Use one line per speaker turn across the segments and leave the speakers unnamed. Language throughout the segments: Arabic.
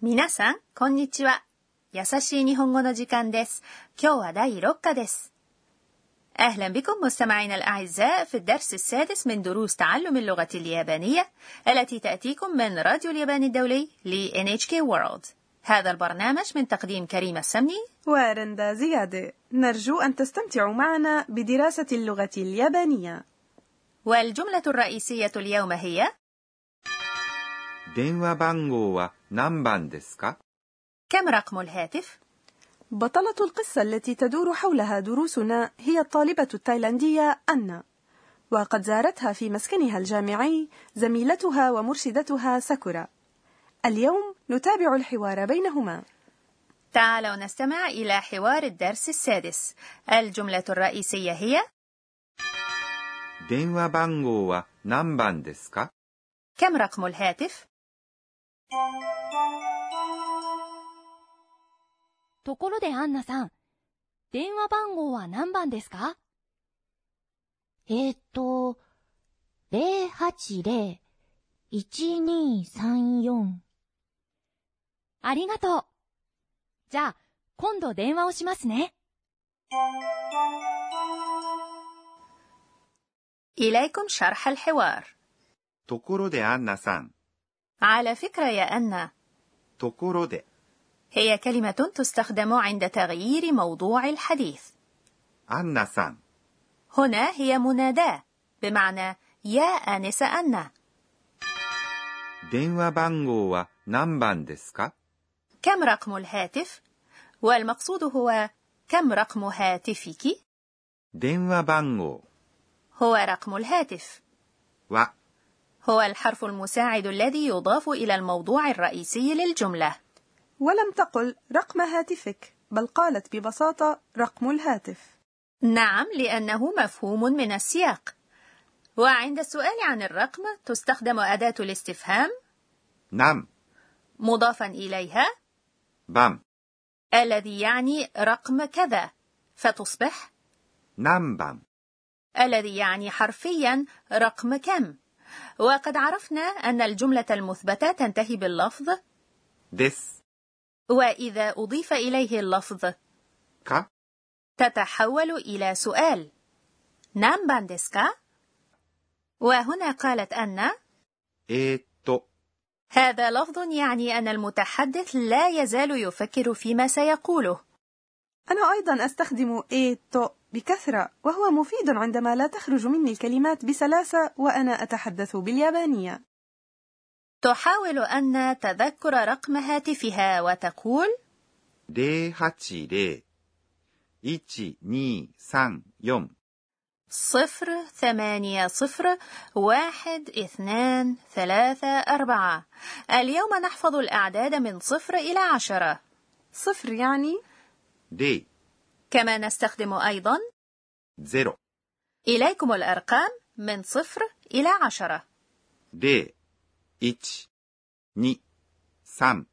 皆さん、こんにちは。優しい日本語の時間です。今日は第6課です。أهلا بكم مستمعينا الأعزاء في الدرس السادس من دروس تعلم اللغة اليابانية التي تأتيكم من راديو اليابان الدولي ل NHK World. هذا البرنامج من تقديم كريم السمني
ورندا زيادة. نرجو أن تستمتعوا معنا بدراسة اللغة اليابانية.
والجملة الرئيسية اليوم هي
電話番号は何番ですか
كم رقم الهاتف؟
بطلة القصة التي تدور حولها دروسنا هي الطالبة التايلاندية أنا وقد زارتها في مسكنها الجامعي زميلتها ومرشدتها ساكورا اليوم نتابع الحوار بينهما
تعالوا نستمع إلى حوار الدرس السادس الجملة الرئيسية هي
電話番号は何番ですか
كم رقم الهاتف؟
ところでアンナさん、電話番号は何番ですか
えー、っと、080-1234。
ありがとう。じゃあ、今度電話をしますね。
إليكم شرح الحوار
ところでアンナさん、
على فكرة يا أنا
ところで、
هي كلمة تستخدم عند تغيير موضوع الحديث
アンナさん、
هنا هي مناداة بمعنى يا آنسة أنا
電話番号は何番ですか
كم رقم الهاتف؟ والمقصود هو كم رقم هاتفك؟
電話番号
هو رقم الهاتف
は
هو الحرف المساعد الذي يضاف إلى الموضوع الرئيسي للجملة
ولم تقل رقم هاتفك بل قالت ببساطة رقم الهاتف
نعم لأنه مفهوم من السياق وعند السؤال عن الرقم تستخدم أداة الاستفهام
何
مضافا إليها
番
الذي يعني رقم كذا فتصبح
何番
الذي يعني حرفيا رقم كم وقد عرفنا أن الجملة المثبتة تنتهي باللفظ
です
وإذا أضيف إليه اللفظ
か
تتحول إلى سؤال نامبان ديسكا؟ وهنا قالت أن
えー、っと、
هذا لفظ يعني أن المتحدث لا يزال يفكر فيما سيقوله
أنا أيضا أستخدم إيتو بكثرة وهو مفيد عندما لا تخرج مني الكلمات بسلاسة وأنا أتحدث باليابانية
تحاول أن تذكر رقم هاتفها وتقول
080-1234
صفر ثمانية صفر واحد اثنان ثلاثة أربعة اليوم نحفظ الأعداد من صفر إلى عشرة
صفر يعني
0
كما نستخدم أيضا
0
إليكم الأرقام من صفر إلى عشرة
0 1 2 3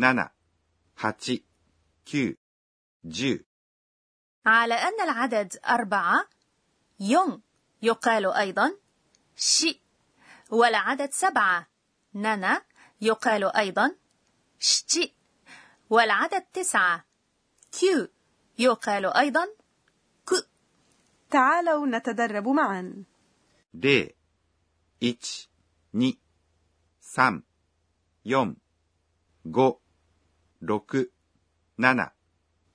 4 5 6 7 8 9 10
على أن العدد أربعة يون يقال أيضا شي والعدد سبعة نانا يقال أيضا شتي والعدد تسعة كيو يقال أيضا كو
تعالوا نتدرب معا
0 1 2 3 4 5 6 7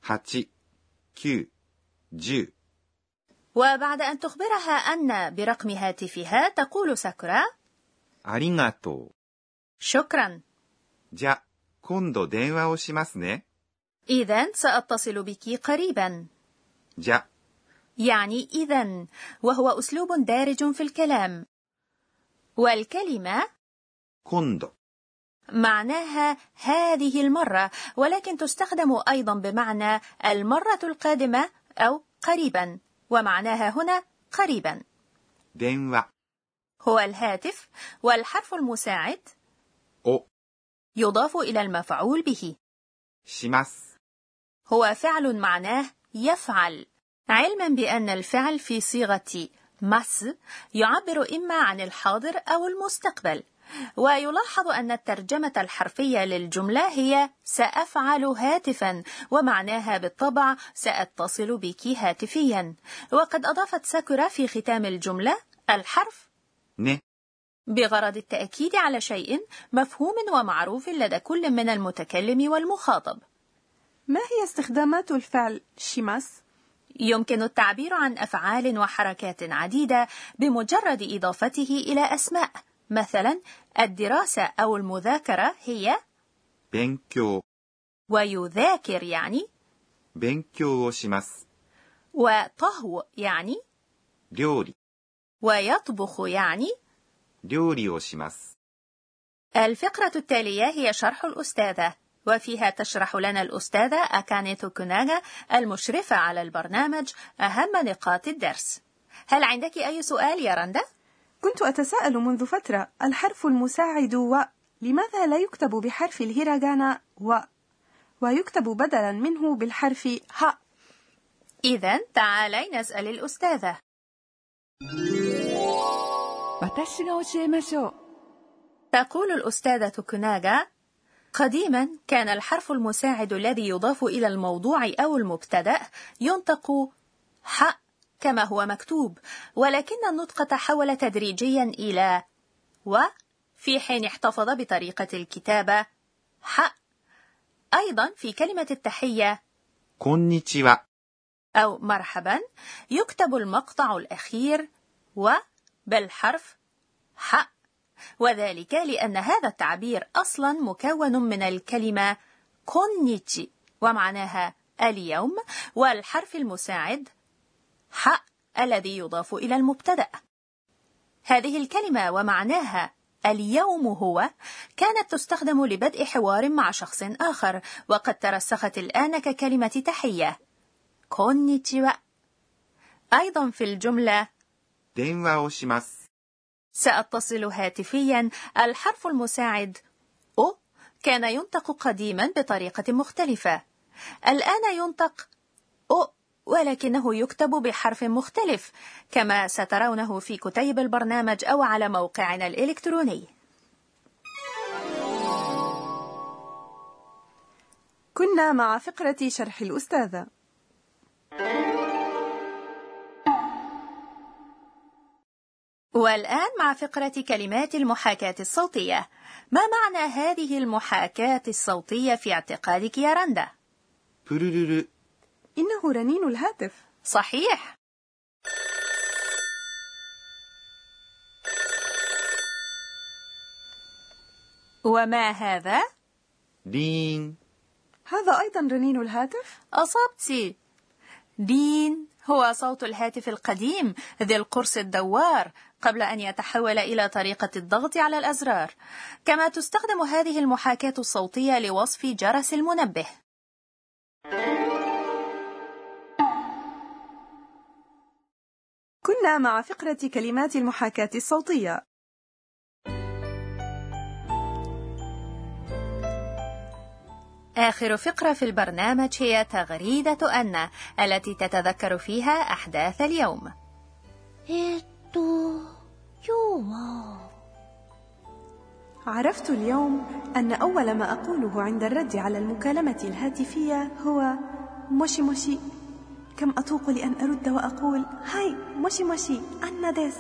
8 9 10
وبعد أن تخبرها أن برقم هاتفها تقول ساكورا
ありがと
شكرا
う。じゃ、今度電話をしますね。
إذا سأتصل بك قريبا
じゃ、
يعني إذا وهو أسلوب دارج في الكلام والكلمة
今度。
معناها هذه المرة ولكن تستخدم أيضا بمعنى المرة القادمة أو قريبا ومعناها هنا قريبا
電話
هو الهاتف والحرف المساعد
を
يضاف إلى المفعول به
します。
هو فعل معناه يفعل علما بأن الفعل في صيغة مس يعبر إما عن الحاضر أو المستقبل ويلاحظ أن الترجمة الحرفية للجملة هي سأفعل هاتفا ومعناها بالطبع سأتصل بك هاتفيا وقد أضافت ساكورا في ختام الجملة الحرف
ね、
بغرض التأكيد على شيء مفهوم ومعروف لدى كل من المتكلم والمخاطب
ما هي استخدامات الفعل شيماس؟
يمكن التعبير عن أفعال وحركات عديدة بمجرد إضافته إلى أسماء مثلا الدراسة أو المذاكرة هي
勉強、
ويذاكر يعني
勉強をします。
وطهو يعني
料理、
ويطبخ يعني
料理をします。
الفقرة التالية هي شرح الأستاذة وفيها تشرح لنا الأستاذة أكاني توكوناغا المشرفة على البرنامج أهم نقاط الدرس هل عندك أي سؤال يا رندا؟
كنت أتساءل منذ فترة الحرف المساعد و لماذا لا يكتب بحرف الهيراغانا و ويكتب بدلا منه بالحرف ه
إذا تعالي نسأل الأستاذة
私が教えましょう。
تقول الأستاذة كناغا قديما كان الحرف المساعد الذي يضاف إلى الموضوع أو المبتدأ ينطق ح كما هو مكتوب ولكن النطق تحول تدريجيا إلى و في حين احتفظ بطريقة الكتابة ح أيضا في كلمة التحية
こんにちは、
أو مرحبا يكتب المقطع الأخير و بالحرف ح وذلك لأن هذا التعبير أصلا مكون من الكلمة كونيتشي ومعناها اليوم والحرف المساعد ح الذي يضاف إلى المبتدأ هذه الكلمة ومعناها اليوم هو كانت تستخدم لبدء حوار مع شخص آخر وقد ترسخت الآن ككلمة تحية كونيتشيوا أيضا في الجملة
電話をします。
سأتصل هاتفيا الحرف المساعد أو كان ينطق قديما بطريقة مختلفة الآن ينطق أو ولكنه يكتب بحرف مختلف كما سترونه في كتيب البرنامج أو على موقعنا الإلكتروني
كنا مع فقرة شرح الأستاذة
والآن مع فقرة كلمات المحاكاة الصوتية ما معنى هذه المحاكاة الصوتية في اعتقادك يا رندا؟
プルルル、
إنه رنين الهاتف
صحيح وما هذا؟
リーン、
هذا أيضا رنين الهاتف
أصبت دين هو صوت الهاتف القديم ذي القرص الدوار قبل أن يتحول إلى طريقة الضغط على الأزرار كما تستخدم هذه المحاكاة الصوتية لوصف جرس المنبه
كنا مع فقرة كلمات المحاكاة الصوتية
آخر فقرة في البرنامج هي تغريدة أن التي تتذكر فيها أحداث اليوم
えーっと、今日は、
عرفت اليوم أن أول ما أقوله عند الرد على المكالمة الهاتفية هو موشي موشي كم أتوق لأن أرد وأقول هاي موشي موشي أنا ديس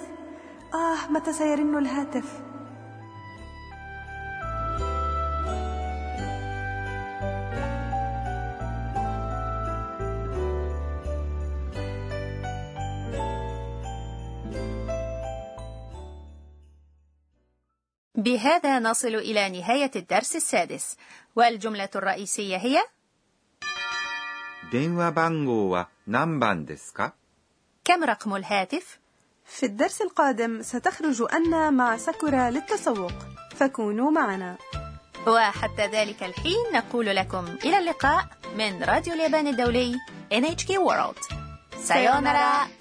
آه متى سيرن الهاتف
بهذا نصل إلى نهاية الدرس السادس والجملة الرئيسية هي
電話番号は何番ですか
كم رقم الهاتف؟
في الدرس القادم ستخرج أنا مع ساكورا للتسوق فكونوا معنا
وحتى ذلك الحين نقول لكم إلى اللقاء من راديو اليابان الدولي NHK World سايونارا